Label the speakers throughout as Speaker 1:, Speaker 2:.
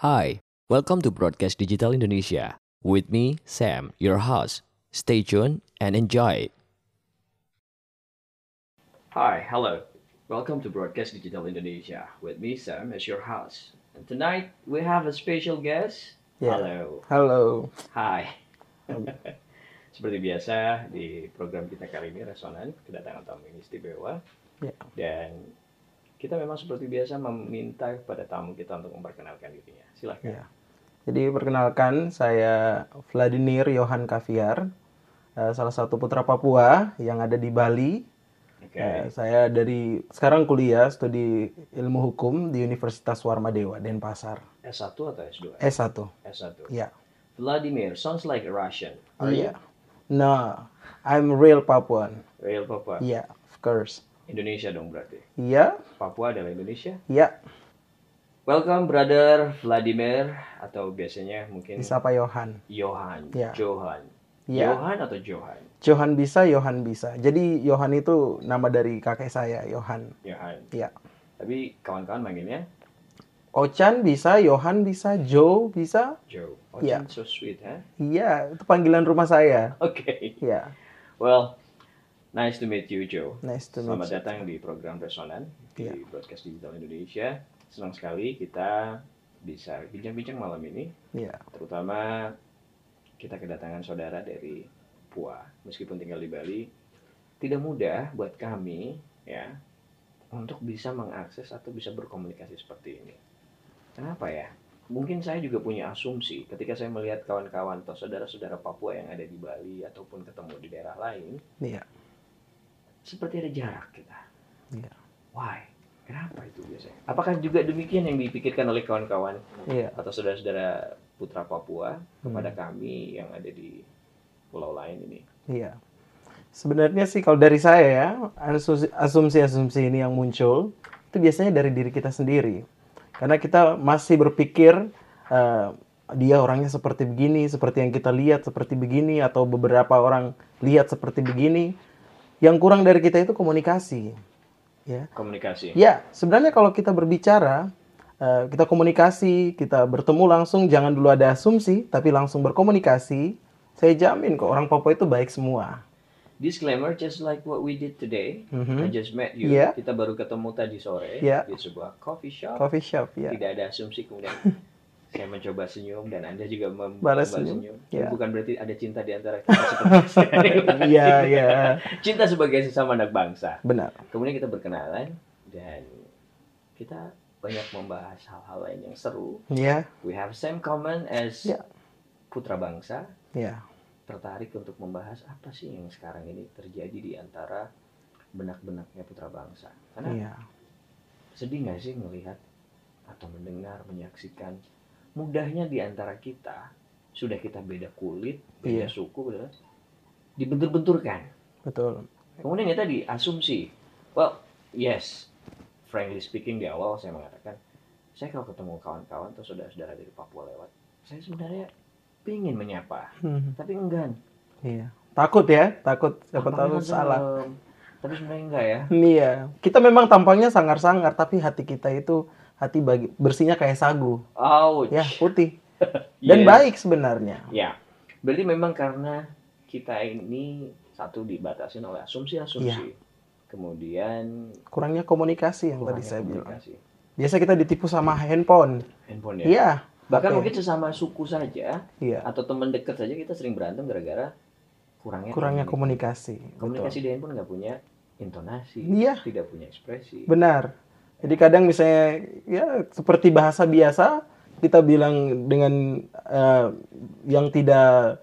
Speaker 1: Hi, welcome to Broadcast Digital Indonesia. With me, Sam, your host. Stay tuned and enjoy. Hi, hello. Welcome to Broadcast Digital Indonesia. With me, Sam, as your host. And tonight we have a special guest.
Speaker 2: Ya.
Speaker 1: Hello.
Speaker 2: Halo.
Speaker 1: Hai. Seperti biasa di program kita kali ini Resonan kedatangan tamu yang istimewa.
Speaker 2: Ya.
Speaker 1: Dan kita memang seperti biasa meminta kepada tamu kita untuk memperkenalkan dirinya. Silahkan.
Speaker 2: Ya. Jadi perkenalkan saya Vladimir Johan Kaviar, eh, salah satu putra Papua yang ada di Bali.
Speaker 1: Oke.
Speaker 2: Eh, Saya dari sekarang kuliah studi ilmu hukum di Universitas Warmadewa Denpasar.
Speaker 1: S1 atau S2?
Speaker 2: S1.
Speaker 1: S1.
Speaker 2: Ya.
Speaker 1: Vladimir sounds like a Russian. Are you?
Speaker 2: Iya. No, I'm real Papuan.
Speaker 1: Real Papua.
Speaker 2: Ya, of course.
Speaker 1: Indonesia dong berarti.
Speaker 2: Ya,
Speaker 1: Papua adalah Indonesia.
Speaker 2: ya.
Speaker 1: Welcome brother Vladimir atau biasanya mungkin
Speaker 2: Disapa Johan.
Speaker 1: Johan.
Speaker 2: Ya.
Speaker 1: Johan.
Speaker 2: Ya.
Speaker 1: Johan atau Johan?
Speaker 2: Johan bisa, Johan bisa. Jadi Johan itu nama dari kakek saya, Johan.
Speaker 1: Johan.
Speaker 2: Ya.
Speaker 1: Tapi kawan-kawan manggilnya
Speaker 2: Ochan bisa, Johan bisa, Joe bisa.
Speaker 1: Joe. Oh,
Speaker 2: Ya.
Speaker 1: so sweet, huh?
Speaker 2: Iya, itu panggilan rumah saya.
Speaker 1: Okay.
Speaker 2: Iya,
Speaker 1: Well, nice to meet you, Joe.
Speaker 2: nice to meet
Speaker 1: Selamat
Speaker 2: you.
Speaker 1: datang di program Resonan di
Speaker 2: Iya.
Speaker 1: Broadcast Digital Indonesia. Senang sekali kita bisa bincang-bincang malam ini
Speaker 2: Iya,
Speaker 1: terutama kita kedatangan saudara dari Papua meskipun tinggal di Bali tidak mudah buat kami ya untuk bisa mengakses atau bisa berkomunikasi seperti ini kenapa ya mungkin saya juga punya asumsi ketika saya melihat kawan-kawan atau saudara-saudara Papua yang ada di Bali ataupun ketemu di daerah lain
Speaker 2: iya.
Speaker 1: seperti ada jarak kita
Speaker 2: Iya.
Speaker 1: why kenapa itu biasanya apakah juga demikian yang dipikirkan oleh kawan-kawan
Speaker 2: Iya.
Speaker 1: atau saudara-saudara putra Papua kepada
Speaker 2: Hmm,
Speaker 1: kami yang ada di pulau lain ini.
Speaker 2: Iya. Sebenarnya sih kalau dari saya ya, asumsi- asumsi-asumsi ini yang muncul itu biasanya dari diri kita sendiri. Karena kita masih berpikir eh, dia orangnya seperti begini, seperti yang kita lihat seperti begini atau beberapa orang lihat seperti begini. Yang kurang dari kita itu komunikasi. Ya.
Speaker 1: Komunikasi.
Speaker 2: Ya, sebenarnya kalau kita berbicara, eh, kita komunikasi, kita bertemu langsung, jangan dulu ada asumsi, tapi langsung berkomunikasi. Saya jamin kok orang Papua itu baik semua.
Speaker 1: Disclaimer, just like what we did today, I
Speaker 2: Mhm.
Speaker 1: just met you.
Speaker 2: Yeah.
Speaker 1: Kita baru ketemu tadi sore
Speaker 2: Yeah.
Speaker 1: di sebuah coffee shop.
Speaker 2: Iya. Coffee shop ya.
Speaker 1: Tidak ada asumsi kemudian saya mencoba senyum dan Anda juga mem-
Speaker 2: Balas
Speaker 1: membalas
Speaker 2: senyum. Iya.
Speaker 1: Ini
Speaker 2: Yeah.
Speaker 1: Bukan berarti ada cinta di antara kita seperti sehari-hari.
Speaker 2: Iya, iya.
Speaker 1: Cinta sebagai sesama anak bangsa.
Speaker 2: Benar.
Speaker 1: Kemudian kita berkenalan dan kita banyak membahas hal-hal lain yang seru.
Speaker 2: Ya,
Speaker 1: We have same common as
Speaker 2: Yeah.
Speaker 1: putra bangsa.
Speaker 2: ya.
Speaker 1: tertarik untuk membahas apa sih yang sekarang ini terjadi di antara benak-benaknya putra bangsa. Karena
Speaker 2: Iya.
Speaker 1: sedih nggak sih melihat atau mendengar, menyaksikan mudahnya di antara kita sudah kita beda kulit, beda
Speaker 2: Iya.
Speaker 1: suku, beda- dibentur-benturkan.
Speaker 2: Betul.
Speaker 1: Kemudian ya tadi asumsi, well yes, frankly speaking di awal saya mengatakan saya kalau ketemu kawan-kawan atau saudara-saudara dari Papua lewat, saya sebenarnya pingin menyapa,
Speaker 2: Hmm,
Speaker 1: tapi enggan.
Speaker 2: Iya. Takut ya, takut siapa tahu
Speaker 1: Tampangnya kan
Speaker 2: salah.
Speaker 1: serem. Tapi sebenarnya enggak ya.
Speaker 2: Iya. Kita memang tampangnya sangar-sangar, tapi hati kita itu hati bagi, bersihnya kayak sagu,
Speaker 1: Ouch.
Speaker 2: ya, putih dan
Speaker 1: Yes.
Speaker 2: baik sebenarnya.
Speaker 1: Ya. Berarti memang karena kita ini satu dibatasin oleh asumsi-asumsi. Kemudian
Speaker 2: Kurangnya komunikasi yang Ya. tadi
Speaker 1: kurangnya
Speaker 2: saya bilang.
Speaker 1: komunikasi.
Speaker 2: Biasa kita ditipu sama handphone.
Speaker 1: Handphone ya.
Speaker 2: Iya,
Speaker 1: Bahkan
Speaker 2: Oke.
Speaker 1: mungkin sesama suku saja
Speaker 2: iya.
Speaker 1: atau teman dekat saja kita sering berantem gara-gara kurangnya
Speaker 2: iya. Kurangnya
Speaker 1: komunikasi.
Speaker 2: komunikasi.
Speaker 1: Komunikasi di handphone nggak punya intonasi,
Speaker 2: Iya.
Speaker 1: tidak punya ekspresi.
Speaker 2: Betul. Benar. Jadi kadang misalnya ya seperti bahasa biasa kita bilang dengan eh, yang tidak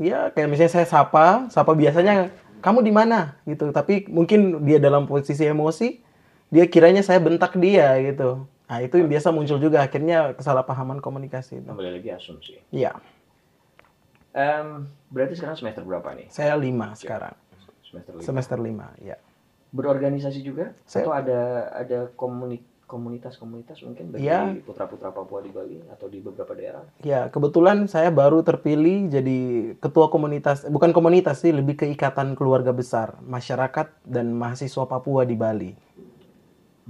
Speaker 2: ya kayak misalnya saya sapa, sapa biasanya kamu di mana gitu. Tapi mungkin dia dalam posisi emosi, dia kiranya saya bentak dia gitu. Nah, itu yang biasa muncul juga akhirnya kesalahpahaman komunikasi itu.
Speaker 1: Kembali lagi asumsi.
Speaker 2: Iya,
Speaker 1: Em, berarti sekarang semester berapa nih?
Speaker 2: saya Iya, lima sekarang.
Speaker 1: Semester lima.
Speaker 2: Semester lima, ya.
Speaker 1: berorganisasi juga
Speaker 2: Saya-
Speaker 1: atau ada ada komuni- komunitas-komunitas mungkin bagi
Speaker 2: Iya.
Speaker 1: putra-putra Papua di Bali atau di beberapa daerah
Speaker 2: Ya, kebetulan saya baru terpilih jadi ketua komunitas, bukan komunitas sih, lebih ke ikatan keluarga besar, masyarakat dan mahasiswa Papua di Bali.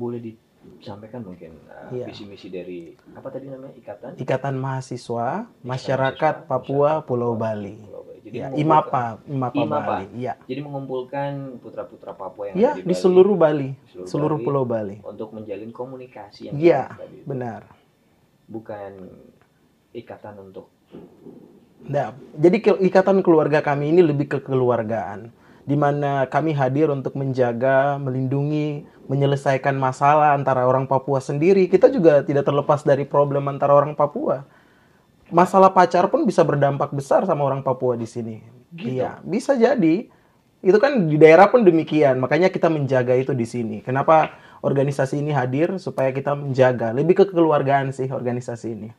Speaker 1: boleh di sampaikan mungkin uh,
Speaker 2: Iya.
Speaker 1: visi misi dari apa tadi namanya ikatan
Speaker 2: Ikatan Mahasiswa Masyarakat Papua Pulau Bali.
Speaker 1: Pulau Bali. Jadi
Speaker 2: Ya,
Speaker 1: mengumpulkan-
Speaker 2: IMAPA, IMAPA,
Speaker 1: IMAPA.
Speaker 2: Bali. Iya.
Speaker 1: Jadi mengumpulkan putra-putra Papua yang
Speaker 2: Ya,
Speaker 1: ada
Speaker 2: di
Speaker 1: Bali
Speaker 2: seluruh Bali,
Speaker 1: Seluruh
Speaker 2: seluruh
Speaker 1: Bali.
Speaker 2: Pulau Bali.
Speaker 1: untuk menjalin komunikasi yang
Speaker 2: Iya,
Speaker 1: baik tadi.
Speaker 2: Benar.
Speaker 1: bukan ikatan untuk
Speaker 2: Nah, jadi ke- ikatan keluarga kami ini lebih kekeluargaan, di mana kami hadir untuk menjaga, melindungi, menyelesaikan masalah antara orang Papua sendiri. Kita juga tidak terlepas dari problem antara orang Papua. Masalah pacar pun bisa berdampak besar sama orang Papua di sini.
Speaker 1: Gitu.
Speaker 2: Iya, bisa jadi. Itu kan di daerah pun demikian, makanya kita menjaga itu di sini. Kenapa organisasi ini hadir supaya kita menjaga lebih kekeluargaan sih organisasi ini.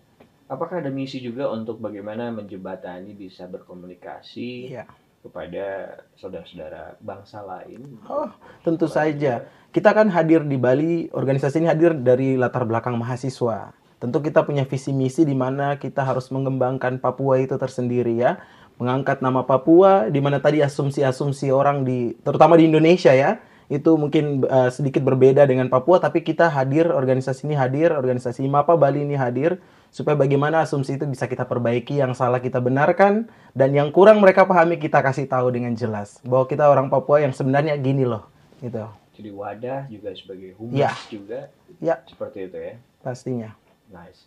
Speaker 1: apakah ada misi juga untuk bagaimana menjembatani bisa berkomunikasi
Speaker 2: Iya.
Speaker 1: kepada saudara-saudara bangsa lain
Speaker 2: Oh, tentu saja. Kita kan hadir di Bali, organisasi ini hadir dari latar belakang mahasiswa. Tentu kita punya visi misi di mana kita harus mengembangkan Papua itu tersendiri ya, mengangkat nama Papua di mana tadi asumsi-asumsi orang di terutama di Indonesia ya, itu mungkin eh, sedikit berbeda dengan Papua tapi kita hadir organisasi ini hadir, organisasi MAPA Bali ini hadir supaya bagaimana asumsi itu bisa kita perbaiki, yang salah kita benarkan, dan yang kurang mereka pahami kita kasih tahu dengan jelas bahwa kita orang Papua yang sebenarnya gini loh, gitu
Speaker 1: jadi wadah juga sebagai humus
Speaker 2: Iya.
Speaker 1: juga
Speaker 2: Iya.
Speaker 1: seperti itu ya
Speaker 2: pastinya.
Speaker 1: nice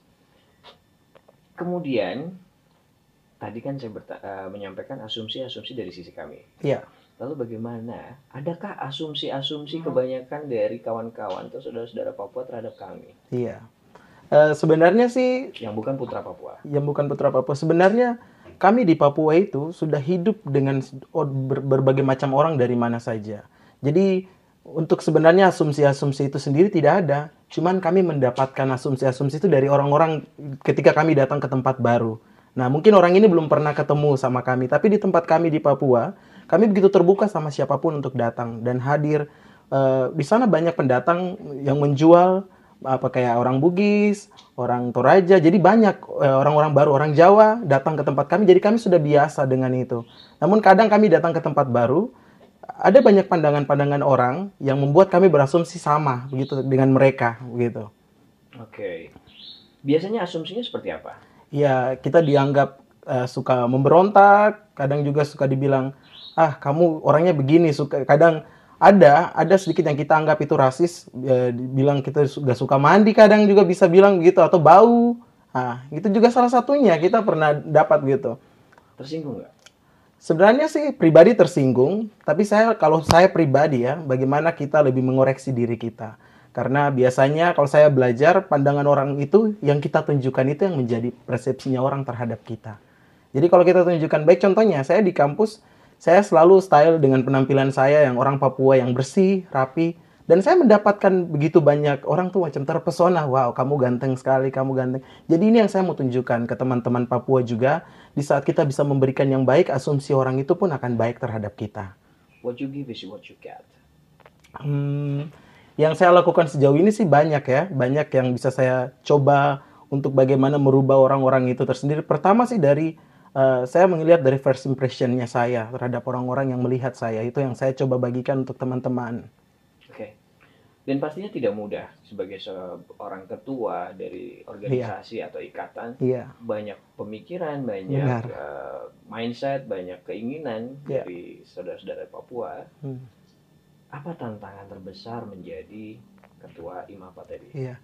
Speaker 1: kemudian tadi kan saya berta- eh, menyampaikan asumsi-asumsi dari sisi kami
Speaker 2: Iya.
Speaker 1: lalu bagaimana adakah asumsi-asumsi kebanyakan dari kawan-kawan atau saudara-saudara Papua terhadap kami
Speaker 2: Iya. Eh, sebenarnya sih
Speaker 1: yang bukan putra Papua
Speaker 2: yang bukan putra Papua sebenarnya kami di Papua itu sudah hidup dengan s- o- ber- berbagai macam orang dari mana saja. Jadi untuk sebenarnya asumsi-asumsi itu sendiri tidak ada. Cuman kami mendapatkan asumsi-asumsi itu dari orang-orang ketika kami datang ke tempat baru. Nah mungkin orang ini belum pernah ketemu sama kami. Tapi di tempat kami di Papua, kami begitu terbuka sama siapapun untuk datang dan hadir. Eh, di sana banyak pendatang yang menjual apa kayak orang Bugis, orang Toraja. Jadi banyak eh, orang-orang baru, orang Jawa datang ke tempat kami. Jadi kami sudah biasa dengan itu. Namun kadang kami datang ke tempat baru, ada banyak pandangan-pandangan orang yang membuat kami berasumsi sama begitu dengan mereka begitu.
Speaker 1: Oke. Biasanya asumsinya seperti apa?
Speaker 2: Ya, kita dianggap eh, suka memberontak, kadang juga suka dibilang, "Ah, kamu orangnya begini." Suka kadang ada ada sedikit yang kita anggap itu rasis, eh, bilang kita su- nggak suka mandi, kadang juga bisa bilang gitu atau bau. Ah, itu juga salah satunya kita pernah dapat gitu.
Speaker 1: Tersinggung nggak?
Speaker 2: Sebenarnya sih pribadi tersinggung, tapi saya kalau saya pribadi ya, bagaimana kita lebih mengoreksi diri kita. Karena biasanya kalau saya belajar pandangan orang itu yang kita tunjukkan itu yang menjadi persepsinya orang terhadap kita. Jadi kalau kita tunjukkan baik contohnya, saya di kampus saya selalu style dengan penampilan saya yang orang Papua yang bersih, rapi dan saya mendapatkan begitu banyak orang tuh macam terpesona, wow kamu ganteng sekali, kamu ganteng. Jadi ini yang saya mau tunjukkan ke teman-teman Papua juga di saat kita bisa memberikan yang baik, asumsi orang itu pun akan baik terhadap kita.
Speaker 1: What you give is what you get.
Speaker 2: Hmm, yang saya lakukan sejauh ini sih banyak ya, banyak yang bisa saya coba untuk bagaimana merubah orang-orang itu tersendiri. Pertama sih dari eh, saya melihat dari first impressionnya saya terhadap orang-orang yang melihat saya itu yang saya coba bagikan untuk teman-teman.
Speaker 1: Oke. Dan pastinya tidak mudah sebagai seorang ketua dari organisasi atau ikatan
Speaker 2: Iya,
Speaker 1: banyak pemikiran, banyak
Speaker 2: Benar.
Speaker 1: eh, mindset, banyak keinginan
Speaker 2: Iya.
Speaker 1: dari saudara-saudara Papua.
Speaker 2: Hmm.
Speaker 1: Apa tantangan terbesar menjadi ketua IMAPA tadi?
Speaker 2: iya.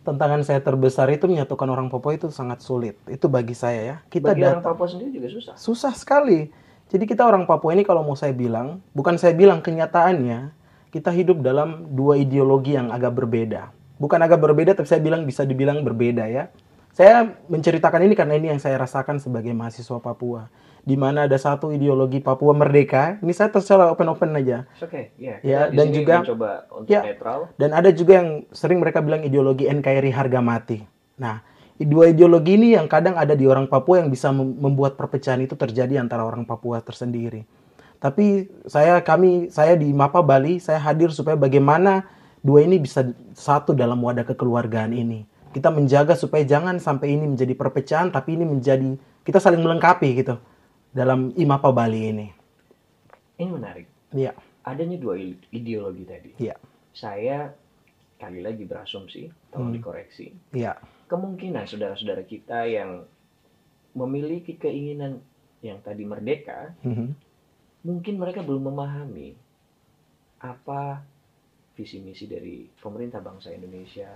Speaker 2: Tantangan saya terbesar itu menyatukan orang Papua itu sangat sulit. Itu bagi saya ya. Kita
Speaker 1: Bagi orang
Speaker 2: datang
Speaker 1: Papua sendiri juga susah.
Speaker 2: Susah sekali. Jadi kita orang Papua ini kalau mau saya bilang, bukan saya bilang kenyataannya, kita hidup dalam dua ideologi yang agak berbeda. Bukan agak berbeda, tapi saya bilang bisa dibilang berbeda ya. Saya menceritakan ini karena ini yang saya rasakan sebagai mahasiswa Papua. Di mana ada satu ideologi Papua merdeka, ini saya terserah open-open aja.
Speaker 1: It's okay, ya.
Speaker 2: Ya,
Speaker 1: kita di
Speaker 2: dan
Speaker 1: sini
Speaker 2: juga-
Speaker 1: mencoba untuk
Speaker 2: Ya.
Speaker 1: netral.
Speaker 2: Dan ada juga yang sering mereka bilang ideologi NKRI harga mati. Nah, dua ideologi ini yang kadang ada di orang Papua yang bisa mem- membuat perpecahan itu terjadi antara orang Papua tersendiri. Tapi saya kami saya di MAPA Bali, saya hadir supaya bagaimana dua ini bisa satu dalam wadah kekeluargaan ini. Kita menjaga supaya jangan sampai ini menjadi perpecahan tapi ini menjadi kita saling melengkapi gitu dalam IMAPA Bali ini.
Speaker 1: Ini menarik.
Speaker 2: Iya.
Speaker 1: adanya dua ideologi tadi.
Speaker 2: Iya.
Speaker 1: Saya kali lagi berasumsi, tolong
Speaker 2: Hmm.
Speaker 1: dikoreksi.
Speaker 2: Iya.
Speaker 1: Kemungkinan saudara-saudara kita yang memiliki keinginan yang tadi merdeka,
Speaker 2: Mhm.
Speaker 1: mungkin mereka belum memahami apa visi misi dari pemerintah bangsa Indonesia,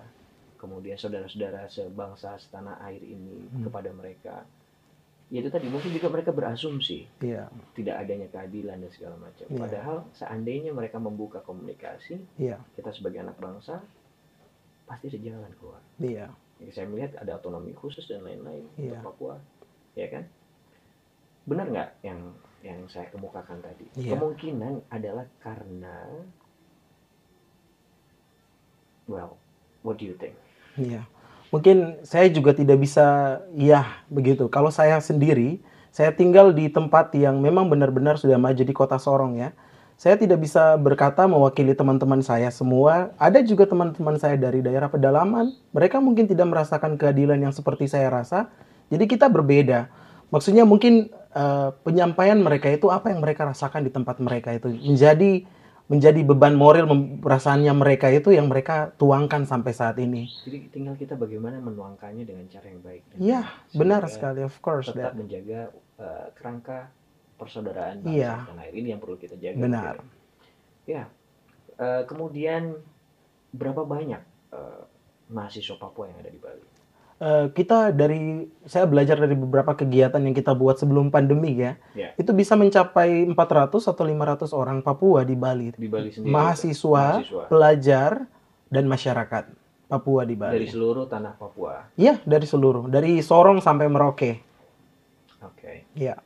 Speaker 1: kemudian saudara-saudara sebangsa setanah air ini
Speaker 2: Hmm.
Speaker 1: kepada mereka. Yaitu tadi mungkin juga mereka berasumsi
Speaker 2: Iya.
Speaker 1: tidak adanya keadilan dan segala macam.
Speaker 2: Iya.
Speaker 1: Padahal seandainya mereka membuka komunikasi,
Speaker 2: Iya.
Speaker 1: kita sebagai anak bangsa pasti ada jalan keluar.
Speaker 2: Iya.
Speaker 1: Ya, saya melihat ada autonomi khusus dan lain-lain
Speaker 2: Iya.
Speaker 1: untuk Papua, ya kan? Benar nggak yang yang saya kemukakan tadi?
Speaker 2: Iya.
Speaker 1: Kemungkinan adalah karena, well, what do you think?
Speaker 2: Iya. Mungkin saya juga tidak bisa iya begitu. Kalau saya sendiri, saya tinggal di tempat yang memang benar-benar sudah maju di Kota Sorong ya. Saya tidak bisa berkata mewakili teman-teman saya semua. Ada juga teman-teman saya dari daerah pedalaman. Mereka mungkin tidak merasakan keadilan yang seperti saya rasa. Jadi kita berbeda. Maksudnya mungkin eh, penyampaian mereka itu apa yang mereka rasakan di tempat mereka itu menjadi menjadi beban moral mem- perasaannya mereka itu yang mereka tuangkan sampai saat ini.
Speaker 1: Jadi tinggal kita bagaimana menuangkannya dengan cara yang baik. dan
Speaker 2: Iya,
Speaker 1: benar.
Speaker 2: Benar
Speaker 1: Sehingga
Speaker 2: sekali, of course.
Speaker 1: Tetap
Speaker 2: Dad.
Speaker 1: menjaga eh, kerangka persaudaraan
Speaker 2: Iya.
Speaker 1: bangsa tanah air ini yang perlu kita jaga. gitu.
Speaker 2: Benar.
Speaker 1: Ya, Eh, kemudian berapa banyak eh, mahasiswa Papua yang ada di Bali?
Speaker 2: Eh, kita dari saya belajar dari beberapa kegiatan yang kita buat sebelum pandemi ya.
Speaker 1: Iya.
Speaker 2: Itu bisa mencapai 400 atau 500 orang Papua di Bali.
Speaker 1: Di Bali sendiri?
Speaker 2: Mahasiswa, pelajar dan masyarakat Papua di
Speaker 1: dari
Speaker 2: Bali.
Speaker 1: seluruh tanah Papua.
Speaker 2: Iya, dari seluruh, dari Sorong sampai Merauke.
Speaker 1: Oke.
Speaker 2: Iya.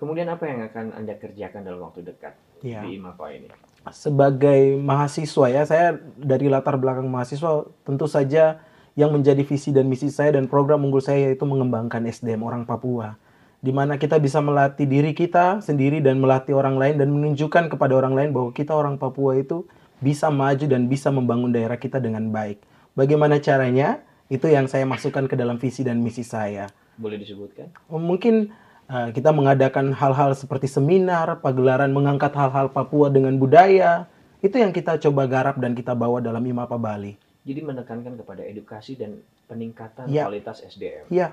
Speaker 1: Kemudian apa yang akan Anda kerjakan dalam waktu dekat
Speaker 2: Iya.
Speaker 1: di IMAPA ini?
Speaker 2: sebagai mahasiswa ya saya dari latar belakang mahasiswa tentu saja yang menjadi visi dan misi saya dan program unggul saya yaitu mengembangkan SDM orang Papua di mana kita bisa melatih diri kita sendiri dan melatih orang lain dan menunjukkan kepada orang lain bahwa kita orang Papua itu bisa maju dan bisa membangun daerah kita dengan baik. Bagaimana caranya? Itu yang saya masukkan ke dalam visi dan misi saya
Speaker 1: Boleh disebutkan?
Speaker 2: Oh, mungkin eh, kita mengadakan hal-hal seperti seminar, pagelaran mengangkat hal-hal Papua dengan budaya. Itu yang kita coba garap dan kita bawa dalam IMAPA Bali.
Speaker 1: Jadi menekankan kepada edukasi dan peningkatan
Speaker 2: Iya.
Speaker 1: kualitas SDM.
Speaker 2: Iya.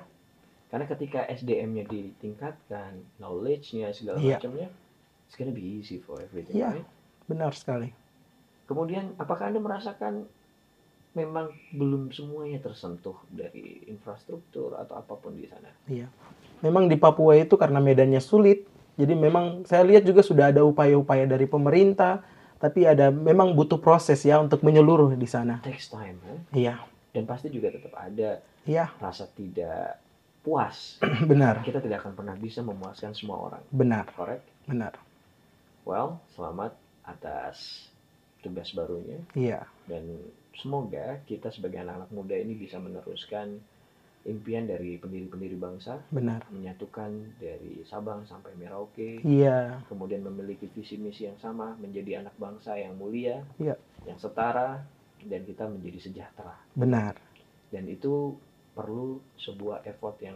Speaker 1: Karena ketika SDM-nya ditingkatkan, knowledge-nya segala
Speaker 2: Iya.
Speaker 1: macamnya, it's gonna be easy for everything.
Speaker 2: Iya.
Speaker 1: right?
Speaker 2: Benar sekali.
Speaker 1: Kemudian, apakah Anda merasakan memang belum semuanya tersentuh dari infrastruktur atau apapun di sana?
Speaker 2: Iya. Memang di Papua itu karena medannya sulit, jadi memang saya lihat juga sudah ada upaya-upaya dari pemerintah, tapi ada memang butuh proses ya untuk menyeluruh di sana.
Speaker 1: Takes time, kan?
Speaker 2: Iya,
Speaker 1: Dan pasti juga tetap ada
Speaker 2: Iya.
Speaker 1: rasa tidak puas.
Speaker 2: benar,
Speaker 1: Kita tidak akan pernah bisa memuaskan semua orang,
Speaker 2: benar,
Speaker 1: correct?
Speaker 2: benar.
Speaker 1: Well, selamat atas tugas barunya.
Speaker 2: Iya,
Speaker 1: Dan semoga kita sebagai anak-anak muda ini bisa meneruskan impian dari pendiri-pendiri bangsa,
Speaker 2: benar.
Speaker 1: menyatukan dari Sabang sampai Merauke,
Speaker 2: Iya,
Speaker 1: kemudian memiliki visi misi yang sama, menjadi anak bangsa yang mulia,
Speaker 2: Iya.
Speaker 1: yang setara, dan kita menjadi sejahtera.
Speaker 2: benar.
Speaker 1: Dan itu perlu sebuah effort yang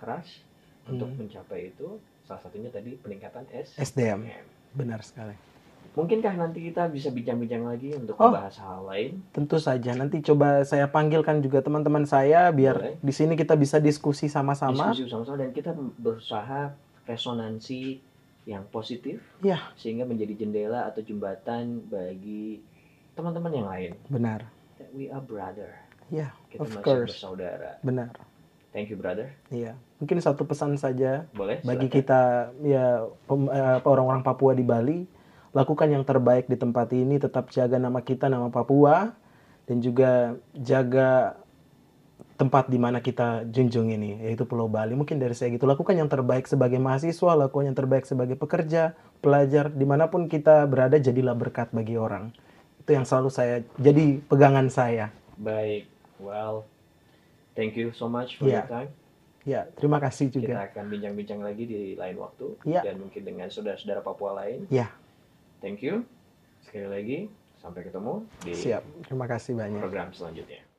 Speaker 1: keras untuk
Speaker 2: Hmm.
Speaker 1: mencapai itu. Salah satunya tadi peningkatan S.
Speaker 2: SDM, benar sekali.
Speaker 1: Mungkinkah nanti kita bisa bincang-bincang lagi untuk
Speaker 2: Oh.
Speaker 1: membahas hal lain?
Speaker 2: Tentu saja. Nanti coba saya panggilkan juga teman-teman saya biar
Speaker 1: Boleh.
Speaker 2: di sini kita bisa diskusi sama-sama.
Speaker 1: Diskusi bersama-sama dan kita berusaha resonansi yang positif,
Speaker 2: Iya.
Speaker 1: sehingga menjadi jendela atau jembatan bagi teman-teman yang lain.
Speaker 2: Benar,
Speaker 1: that we are brother.
Speaker 2: Yeah,
Speaker 1: kita
Speaker 2: Ya, of
Speaker 1: masih
Speaker 2: course.
Speaker 1: bersaudara.
Speaker 2: benar.
Speaker 1: Thank you brother.
Speaker 2: Iya. Mungkin satu pesan saja
Speaker 1: Boleh?
Speaker 2: bagi
Speaker 1: silakan.
Speaker 2: kita ya pem- eh, apa, orang-orang Papua di Bali, lakukan yang terbaik di tempat ini, tetap jaga nama kita, nama Papua dan juga jaga tempat di mana kita junjung ini yaitu Pulau Bali. Mungkin dari saya gitu, lakukan yang terbaik sebagai mahasiswa, lakukan yang terbaik sebagai pekerja, pelajar, dimanapun kita berada jadilah berkat bagi orang. Itu yang selalu saya jadi pegangan saya.
Speaker 1: Baik. Well, thank you so much for
Speaker 2: Yeah.
Speaker 1: your time.
Speaker 2: Ya, terima kasih juga. Ya.
Speaker 1: Kita akan bincang-bincang lagi di lain waktu
Speaker 2: Yeah.
Speaker 1: dan mungkin dengan saudara-saudara Papua lain.
Speaker 2: Yeah.
Speaker 1: Thank you. Sekali lagi sampai ketemu di
Speaker 2: Siap. Terima kasih banyak.
Speaker 1: program selanjutnya.